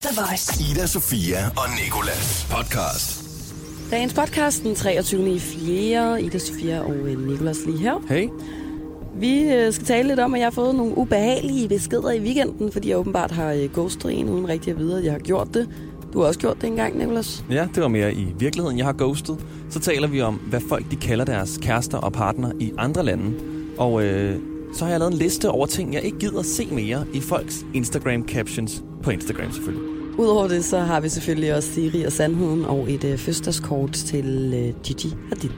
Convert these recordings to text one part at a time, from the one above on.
The Voice. Ida, Sofia og Nikolas podcast. Dagens podcast den 23. i 4. Ida, Sofia og øh, Nicolas lige her. Hey. Vi øh, skal tale lidt om, at jeg har fået nogle ubehagelige beskeder i weekenden, fordi jeg åbenbart har øh, ghostet en uden rigtig at vide, at jeg har gjort det. Du har også gjort det engang, Nicolas. Ja, det var mere i virkeligheden. Jeg har ghostet. Så taler vi om, hvad folk de kalder deres kærester og partner i andre lande. Og øh, så har jeg lavet en liste over ting, jeg ikke gider se mere i folks Instagram-captions. På Instagram selvfølgelig. Udover det, så har vi selvfølgelig også Siri og Sandheden og et øh, fødselskort til øh, Gigi Hadid.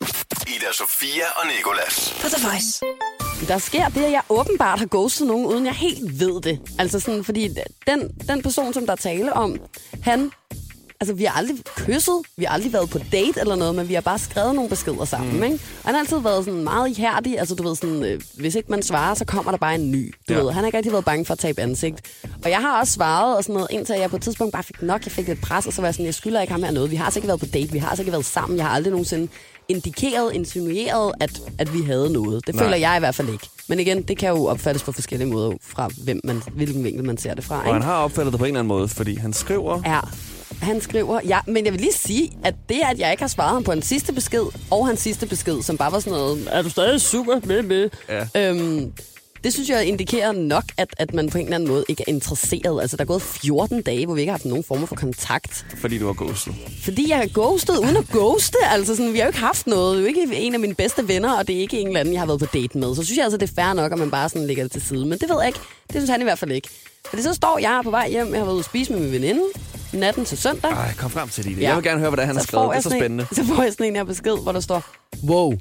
Ida, Sofia og Nikolas. På The Voice. Der sker det, at jeg åbenbart har ghostet nogen, uden jeg helt ved det. Altså sådan, fordi den, den person, som der er tale om, han... Altså, vi har aldrig kysset, vi har aldrig været på date eller noget, men vi har bare skrevet nogle beskeder sammen, mm. ikke? Og han har altid været sådan meget ihærdig, altså du ved sådan, øh, hvis ikke man svarer, så kommer der bare en ny, du ja. Ja. ved. Han har ikke rigtig været bange for at tabe ansigt. Og jeg har også svaret og sådan noget, indtil jeg på et tidspunkt bare fik nok, jeg fik lidt pres, og så var jeg sådan, jeg skylder ikke ham her noget. Vi har altså ikke været på date, vi har altså ikke været sammen, jeg har aldrig nogensinde indikeret, insinueret, at, at vi havde noget. Det Nej. føler jeg i hvert fald ikke. Men igen, det kan jo opfattes på forskellige måder, fra hvem man, hvilken vinkel man ser det fra. Og Ikke? han har opfattet det på en eller anden måde, fordi han skriver... Ja. Han skriver, ja, men jeg vil lige sige, at det, at jeg ikke har svaret ham på en sidste besked, og hans sidste besked, som bare var sådan noget, er du stadig super med med? Ja. Øhm, det synes jeg indikerer nok, at, at man på en eller anden måde ikke er interesseret. Altså, der er gået 14 dage, hvor vi ikke har haft nogen form for kontakt. Fordi du har ghostet. Fordi jeg er ghostet uden at ghoste. Altså, sådan, vi har jo ikke haft noget. Det er jo ikke en af mine bedste venner, og det er ikke en eller anden, jeg har været på date med. Så synes jeg altså, det er fair nok, at man bare sådan lægger det til side. Men det ved jeg ikke. Det synes han i hvert fald ikke. Fordi så står jeg på vej hjem. Jeg har været ude at spise med min veninde natten til søndag. Ej, kom frem til det. Ida. Ja. Jeg vil gerne høre, hvad det er, han har Så skrevet. får Det er jeg så sådan spændende. En, så får jeg sådan en her besked, hvor der står, wow.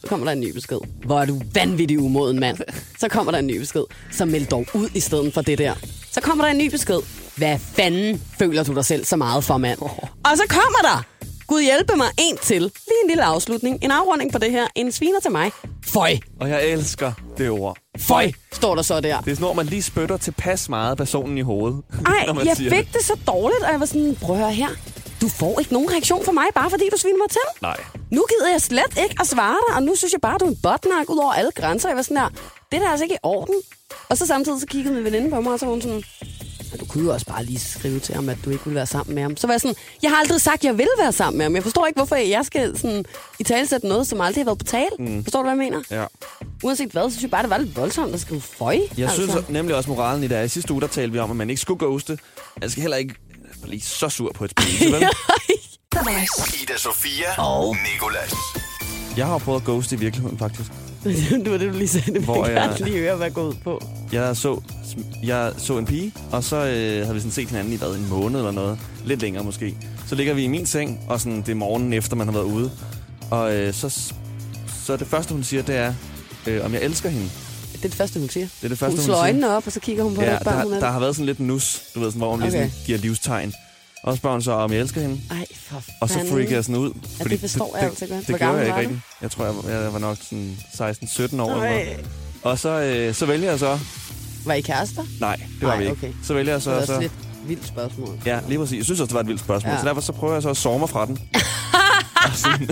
Så kommer der en ny besked. Hvor er du vanvittig umoden, mand. Så kommer der en ny besked. Så meld dog ud i stedet for det der. Så kommer der en ny besked. Hvad fanden føler du dig selv så meget for, mand? Og så kommer der, Gud hjælpe mig, en til. Lige en lille afslutning. En afrunding på det her. En sviner til mig. Føj, Og jeg elsker det ord. føj, står der så der. Det er sådan, når man lige spytter tilpas meget personen i hovedet. når Ej, man jeg siger fik det så dårligt, og jeg var sådan, prøv at høre her. Du får ikke nogen reaktion fra mig, bare fordi du sviner mig til. Nej. Nu gider jeg slet ikke at svare dig, og nu synes jeg bare, du er en botnak ud over alle grænser. Jeg var sådan der, det er da altså ikke i orden. Og så samtidig så kiggede min veninde på mig, og så var hun sådan, "Men du kunne jo også bare lige skrive til ham, at du ikke ville være sammen med ham. Så var jeg sådan, jeg har aldrig sagt, at jeg vil være sammen med ham. Jeg forstår ikke, hvorfor jeg skal sådan, i talsætte noget, som aldrig har været på tale. Mm. Forstår du, hvad jeg mener? Ja. Uanset hvad, så synes jeg bare, det var lidt voldsomt at skrive føj. Jeg altså. synes nemlig også, moralen i det er, i sidste uge, der talte vi om, at man ikke skulle ghoste. Man skal heller ikke blive så sur på et spil. vel? The Voice. Ida, Sofia og Nikolas. jeg har prøvet at ghoste i virkeligheden, faktisk. det var det, du lige sagde. Det vil Hvor jeg jeg- gerne lige høre, hvad går ud på. Jeg så, jeg så en pige, og så øh, havde vi sådan set hinanden i hvad, en måned eller noget. Lidt længere måske. Så ligger vi i min seng, og sådan, det er morgenen efter, man har været ude. Og øh, så, s- så det første, hun siger, det er, øh, om jeg elsker hende. Det er det første, hun siger. Det er det første, hun hun slår siger. øjnene op, og så kigger hun på ja, Ja, det barn, hun der, er. der har været sådan lidt nus, du ved, sådan, hvor hun okay. Okay. ligesom giver livstegn. Og så spørger hun så, om jeg elsker hende. Ej, for Og så fanden. freaker jeg sådan ud. det forstår jeg altså godt. Hvor Det, det gjorde gammel jeg ikke var du? rigtigt. Jeg tror, jeg var, jeg var nok sådan 16-17 år. Ej. Eller noget. Og så, øh, så vælger jeg så... Var I kærester? Nej, det var Ej, vi ikke. okay. Så vælger jeg Det er så... også så lidt vildt spørgsmål. ja, lige præcis. Jeg synes også, det var et vildt spørgsmål. Ja. Ja. Så derfor så prøver jeg så at sove mig fra den. og, sådan,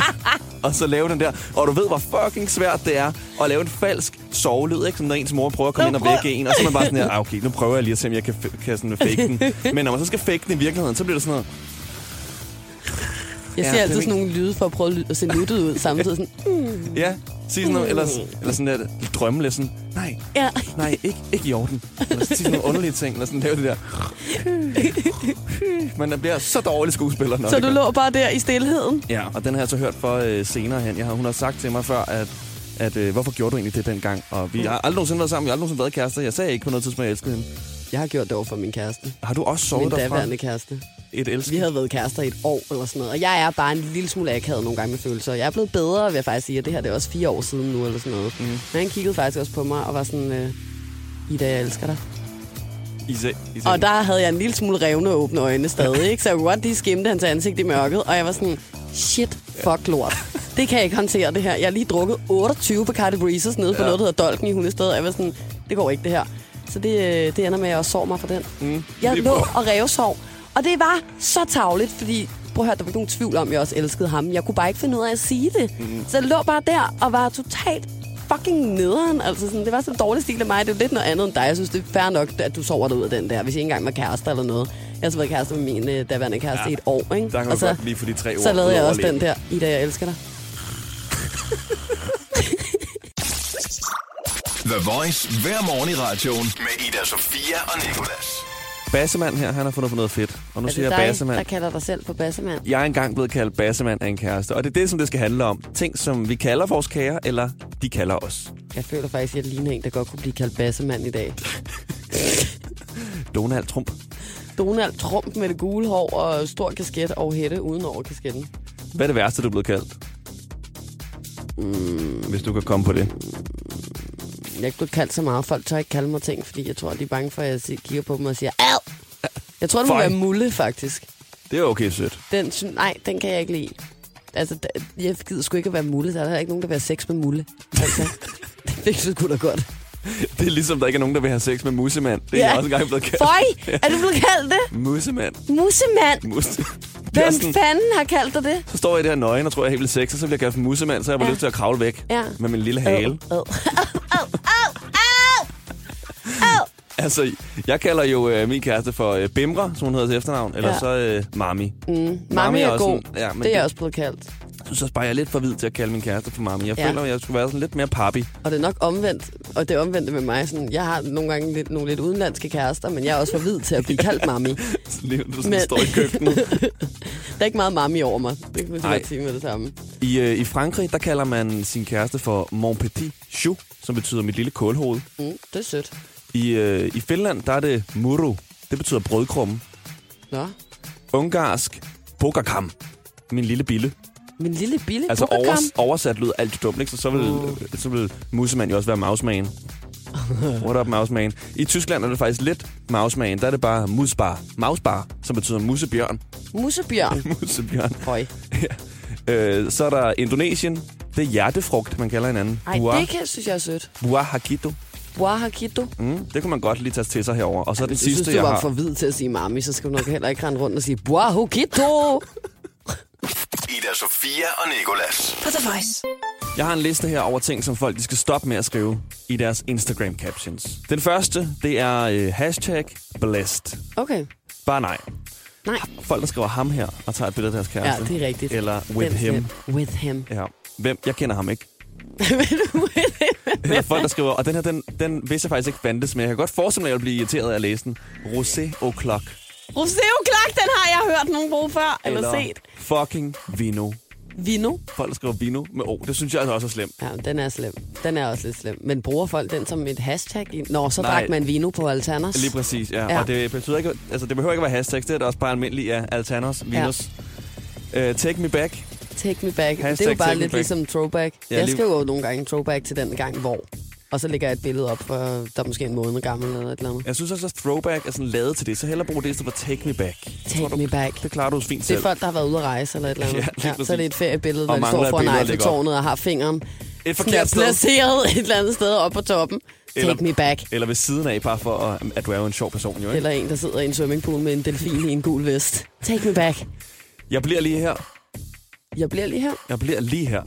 og så lave den der. Og du ved, hvor fucking svært det er at lave en falsk sovelyd, ikke? Som når ens mor prøver at komme Nå, ind og vække prøv- en. Og så er man bare sådan her, "Ah, okay, nu prøver jeg lige at se, om jeg kan, f- kan sådan fake den. Men når man så skal fake den i virkeligheden, så bliver det sådan noget. Jeg Ja, ser det altid er sådan nogle lyde for at prøve at ly- at se nuttet ud samtidig. Sådan, Ja, sig sådan noget. Eller, eller sådan der drømme lidt sådan. Nej, ja. Nej, ikke, ikke i orden. Eller sådan sige nogle underlige ting, eller sådan lave det der. Men der bliver så dårlig skuespiller, når Så det du gør. lå bare der i stillheden? Ja, og den har jeg så hørt for øh, senere hen. Jeg har, hun har sagt til mig før, at, at øh, hvorfor gjorde du egentlig det dengang? Og vi har aldrig nogensinde været sammen, vi har aldrig nogensinde været kærester. Jeg sagde ikke på noget tidspunkt, at jeg elskede hende. Jeg har gjort det over for min kæreste. Har du også Min sovet derfra? daværende kæreste. Et elsk? Vi havde været kærester i et år eller sådan noget. Og jeg er bare en lille smule akavet nogle gange med følelser. Jeg er blevet bedre, vil jeg faktisk sige. Og det her det er også fire år siden nu eller sådan noget. Mm. Men han kiggede faktisk også på mig og var sådan... Øh, Ida, jeg elsker dig. I se, i se. Og der havde jeg en lille smule revne og åbne øjne stadig, ikke? så jeg kunne godt lige skimte hans ansigt i mørket, og jeg var sådan, shit, fuck lort. Det kan jeg ikke håndtere, det her. Jeg har lige drukket 28 Bacardi Breezes nede på ja. Ja. noget, der hedder Dolken i Hundested, og jeg var sådan, det går ikke, det her. Så det, øh, det ender med, at jeg også sov mig for den. Mm, jeg det er lå bra. og revsov, og det var så tavligt, fordi prøv at høre, der var ikke nogen tvivl om, at jeg også elskede ham. Jeg kunne bare ikke finde ud af at sige det. Mhm. Mm. Så jeg lå bare der og var totalt fucking nederen. Altså sådan, det var så dårlig stil af mig. Det er jo lidt noget andet end dig. Jeg synes, det er fair nok, at du sover dig ud af den der, hvis I ikke engang var kærester eller noget. Jeg Jeg har så været kæreste med min øh, daværende kæreste ja. i et år, ikke? Der kan man og så, godt lige få de tre ord. så lavede jeg ud også over den der, Ida, jeg elsker dig. The Voice hver morgen i radioen med Ida Sofia og Nicolas. lidt. Bassemand her, han har fundet på noget fedt. Og nu Er siger det jeg dig, der bassemand. kalder dig selv for bassemand? Jeg er engang blevet kaldt bassemand af en kæreste, og det er det, som det skal handle om. Ting, som vi kalder vores kære, eller de kalder os. Jeg føler faktisk, at jeg ligner en, der godt kunne blive kaldt bassemand i dag. Donald Trump. Donald Trump med det gule hår og stor kasket og hætte uden over kasketten. Hvad er det værste, du er blevet kaldt? Mm. Hvis du kan komme på det. Jeg er ikke blevet kaldt så meget. Folk tør ikke kalde mig ting, fordi jeg tror, de er bange for, at jeg si- kigger på dem og siger, ad! Jeg tror, det må Fej. være mulle, faktisk. Det er okay sødt. Den, sy- nej, den kan jeg ikke lide. Altså, da- jeg gider sgu ikke at være mulle. Der er heller ikke nogen, der vil have sex med mulle. Altså, det synes sgu da godt. Det er ligesom, der ikke er nogen, der vil have sex med musemand. Det er jeg også engang blevet kaldt. Føj! Er du blevet kaldt det? Musemand. Musemand! Mus... Det er Hvem sådan, fanden har kaldt dig det? så står jeg der nøgen og tror, jeg er helt vildt sexet, så bliver jeg kaldt for musemand, så jeg har Ja. ja. lyst til at kravle væk Ja. med min lille hale. Ad, ad. Ad, ad, ad. Ad. Altså, jeg kalder jo øh, min kæreste for øh, Bimra, som hun hedder til efternavn, eller Ja. ja. så øh, Mami. Mm. Mami er god. en- ja, men Det er jeg det- også blevet kaldt. Så, så bare jeg er lidt for hvid til at kalde min kæreste for Mami. Jeg Ja. ja. føler, at jeg skulle være sådan lidt mere papi. Og det er nok omvendt, og det er omvendt med mig. Sådan, jeg har nogle gange lidt, nogle lidt udenlandske kærester, men jeg er også for hvid til at blive kaldt mami. Der Så lige- Du sådan Men- men... står i køkkenet. er ikke meget mami over mig. Det kan man Nej. sikkert sige med det samme. I, øh, I Frankrig, der kalder man sin kæreste for Mon Petit Chou, som betyder mit lille kålhoved. Mm, det er sødt. I, øh, I Finland, der er det muru. Det betyder brødkrumme. Nå. Ungarsk bogakam. Min lille bille. Min lille bille Altså altså over, oversat lyder alt dumt, ikke? Så, så vil, Uh. uh. så vil musemand jo også være mouseman. What up, mouseman? I Tyskland er det faktisk lidt mouseman. Der er det bare musbar. Mausbar, som betyder musebjørn. Musebjørn. musebjørn. Høj. Øh, så er der Indonesien. Det er hjertefrugt, man kalder hinanden. Ej, det kan, synes jeg er sødt. buah hakito. Buah hakito. Mm, det kunne man godt lige tage til sig herover. Og så den Hvis du sidste, synes, du jeg var har... for hvid til at sige mami, så skal du nok heller ikke rende rundt og sige Buah hakito. Ida Sofia og Nicolas. På The Voice. Jeg har en liste her over ting, som folk de skal stoppe med at skrive i deres Instagram-captions. Den første, det er øh, hashtag blessed. Okay. Bare nej. Nej. Folk, der skriver ham her og tager et billede af deres Ja, kæreste. det er rigtigt. Altså, Eller with Den him. skal- With him. Ja. Hvem? Jeg kender ham ikke. Eller folk, der skriver, og den her, den, den vidste jeg faktisk ikke fandtes, men jeg kan godt forestille mig, at jeg vil blive irriteret af at læse den. Rosé O'Clock. Roseo Clark, den har jeg hørt nogen bruge før, eller, eller set. fucking Vino. Vino. Folk, der skriver Vino med O. Det synes jeg altså også er slemt. Ja, den er slem. Den er også lidt slem. Men bruger folk den som et hashtag? i- Nå, så Nej. drak man vino på Altanas. Lige præcis, ja. Ja. ja. Og det, betyder ikke, altså, det behøver ikke at være hashtags, det er da også bare almindeligt, ja. Altanos, Venus. Ja. Uh, take me back. Take me back. det Hashtag er jo bare take me lidt back. ligesom throwback. Ja, Ja, jeg lige- skriver jo nogle gange throwback til den gang, hvor. Og så lægger jeg et billede op, for der er måske en måned gammel eller et eller andet. Jeg synes også, at throwback er sådan lavet til det, så hellere brug det i stedet for take me back. Jeg Take du, me back. Det klarer du fint Det selv. er folk, der har været ude at rejse eller et eller andet. Ja, lige så er det et præcis. feriebillede, Og hvor de mangler står et foran billede at lægge op. Eiffeltårnet og har fingeren Et sådan der forkert sted. placeret et eller andet sted oppe på toppen. Take Eller- me back. Eller ved siden af, bare for at, at du er jo en sjov person, jo. Ikke? Eller en, der sidder i en swimmingpool med en delfin i en gul vest. Take me back. Jeg bliver lige her. Jeg bliver lige her. Jeg bliver lige her.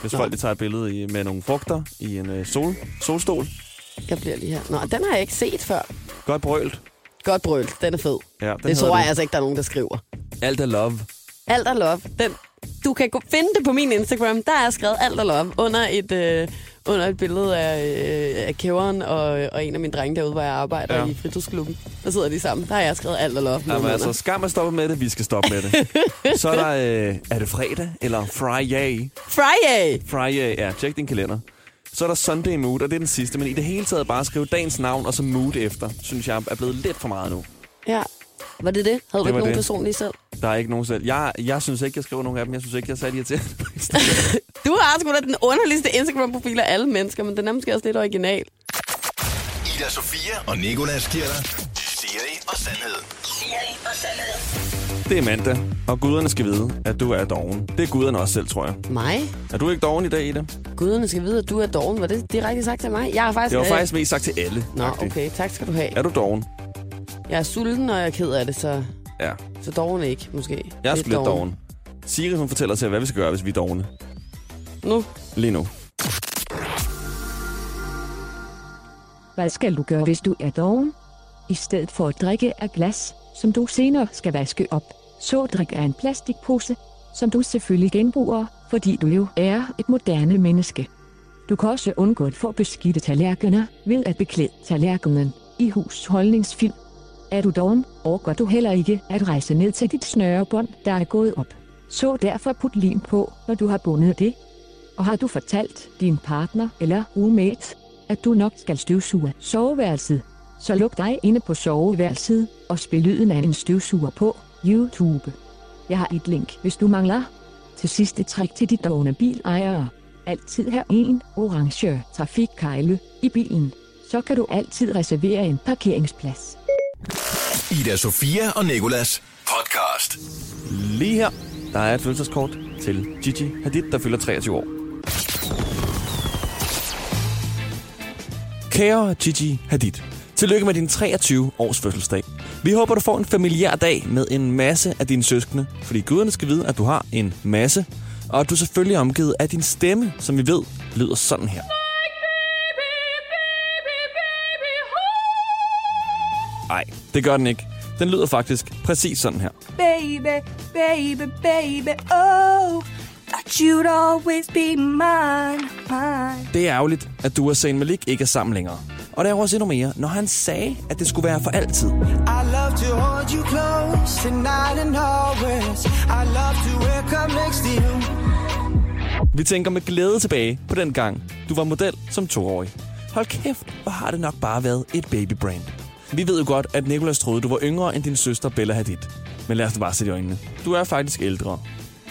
Hvis Nå. Nå. folk de tager et billede i, med nogle frugter i en øh, sol, solstol. Jeg bliver lige her. Nå, den har jeg ikke set før. Godt brølt. Godt brøl, den er fed. Ja, den det hedder tror du. jeg altså ikke, der er nogen, der skriver. Alt er love. Alt er love. Den, du kan gå- finde det på min Instagram. Der er skrevet alt er love under et, øh, under et billede af, øh, af kæveren og, og en af mine drenge derude, hvor jeg arbejder ja. Ja. i fritidsklubben. Der sidder de sammen. Der har jeg skrevet alt er love. Jamen, nedenunder. altså, skam at stoppe med det, vi skal stoppe med det. så er der, øh, er det fredag eller Friday? Friday! Friday, ja, tjek din kalender. Så er der Sunday Mood, og det er den sidste, men i det hele taget bare skrive dagens navn og så mood efter, synes jeg er blevet lidt for meget nu. Ja. Var det det? Havde du Det ikke var nogen det. personlige selv? Der er ikke nogen selv. Jeg, jeg synes ikke, jeg skriver nogen af dem. Jeg synes ikke, jeg er særlig irriterende. på Instagram. Du har sgu da den underligste Instagram-profil af alle mennesker, men den er måske også lidt original. Ida Sofia og Nicolas giver dig Siri og sandhed. Siri og sandhed. det er mandag, og guderne skal vide, at du er doven. Det er guderne også selv, tror jeg. Mig? Er du ikke doven i dag, Ida? Guderne skal vide, at du er doven. Var det direkte sagt til mig? Jeg har faktisk... Det var øh, faktisk mest sagt til alle. Nå, agtigt. okay. Tak skal du have. Er du doven? Jeg er sulten, og jeg er ked af det, så, Ja. så doven ikke, måske. Jeg er sgu lidt doven. Siri, hun fortæller os her, hvad vi skal gøre, hvis vi er dovne. Nu. Lige nu. Hvad skal du gøre, hvis du er doven? I stedet for at drikke af glas, som du senere skal vaske op. Sådrik er en plastikpose, som du selvfølgelig genbruger, fordi du jo er et moderne menneske. Du kan også undgå at få beskidte tallerkener ved at beklæde tallerkenen i husholdningsfilm. Er du doven, overgår du heller ikke at rejse ned til dit snørebånd, der er gået op. Så derfor put lim på, når du har bundet det. Og har du fortalt din partner eller roommate, at du nok skal støvsuge soveværelset, så luk dig inde på soveværelset og spil lyden af en støvsuger på YouTube. Jeg har et link, hvis du mangler. Til sidste trick til de dogne bilejere. Altid have en orange trafikkejle i bilen. Så kan du altid reservere en parkeringsplads. Ida Sofia og Nikolas podcast. Lige her, der er et fødselskort til Gigi Hadid, der fylder 23 år. Kære Gigi Hadid, tillykke med din 23 års fødselsdag. Vi håber, du får en familiær dag med en masse af dine søskende, fordi guderne skal vide, at du har en masse, og at du selvfølgelig er omgivet af din stemme, som vi ved lyder sådan her. Nej, det gør den ikke. Den lyder faktisk præcis sådan her. baby, baby, baby, oh. Thought you'd always be mine, mine. Det er ærgerligt, at du og Zayn Malik ikke er sammen længere. Og det er jo også endnu mere, når han sagde, at det skulle være for altid. I love to hold you close tonight and always. I love to wake up next to you. Vi tænker med glæde tilbage på den gang, du var model som toårig. Hold kæft, hvor har det nok bare været et babybrand. Vi ved jo godt, at Nicolas troede, du var yngre end din søster Bella Hadid. Men lad os da bare se i øjnene. Du er faktisk ældre.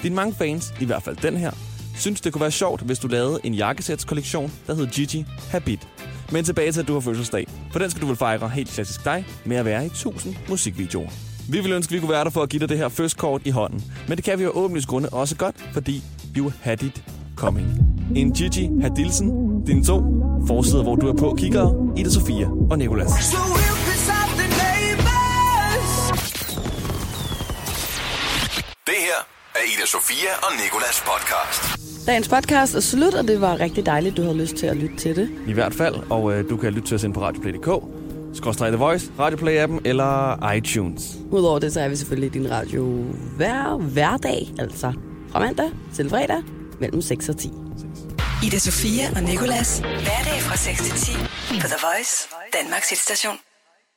Dine mange fans, i hvert fald den her, synes det kunne være sjovt, hvis du lavede en jakkesætskollektion, der hed Gigi Habit. Men tilbage til, at du har fødselsdag. For den skal du vel fejre helt klassisk dig med at være i 1000 musikvideoer. Vi ville ønske, at vi kunne være der for at give dig det her fødselskort i hånden. Men det kan vi jo åbenlyst grunde også godt, fordi you had it coming. En Gigi Hadilsen, din to forsider, hvor du er på kigger, Ida Sofia og Nicolas. So we'll piss off the neighbors. Det her er Ida Sofia og Nikolas podcast. Dagens podcast er slut, og det var rigtig dejligt, du havde lyst til at lytte til det. I hvert fald, og øh, du kan lytte til os ind på radioplay.dk, skråstrej The Voice, Radioplay-appen eller iTunes. Udover det, så er vi selvfølgelig i din radio hver, hver dag, altså fra mandag til fredag mellem 6 og 10. Ida Sofia og Nikolas. Hverdag fra 6 til 10 på The Voice, Danmarks hitstation.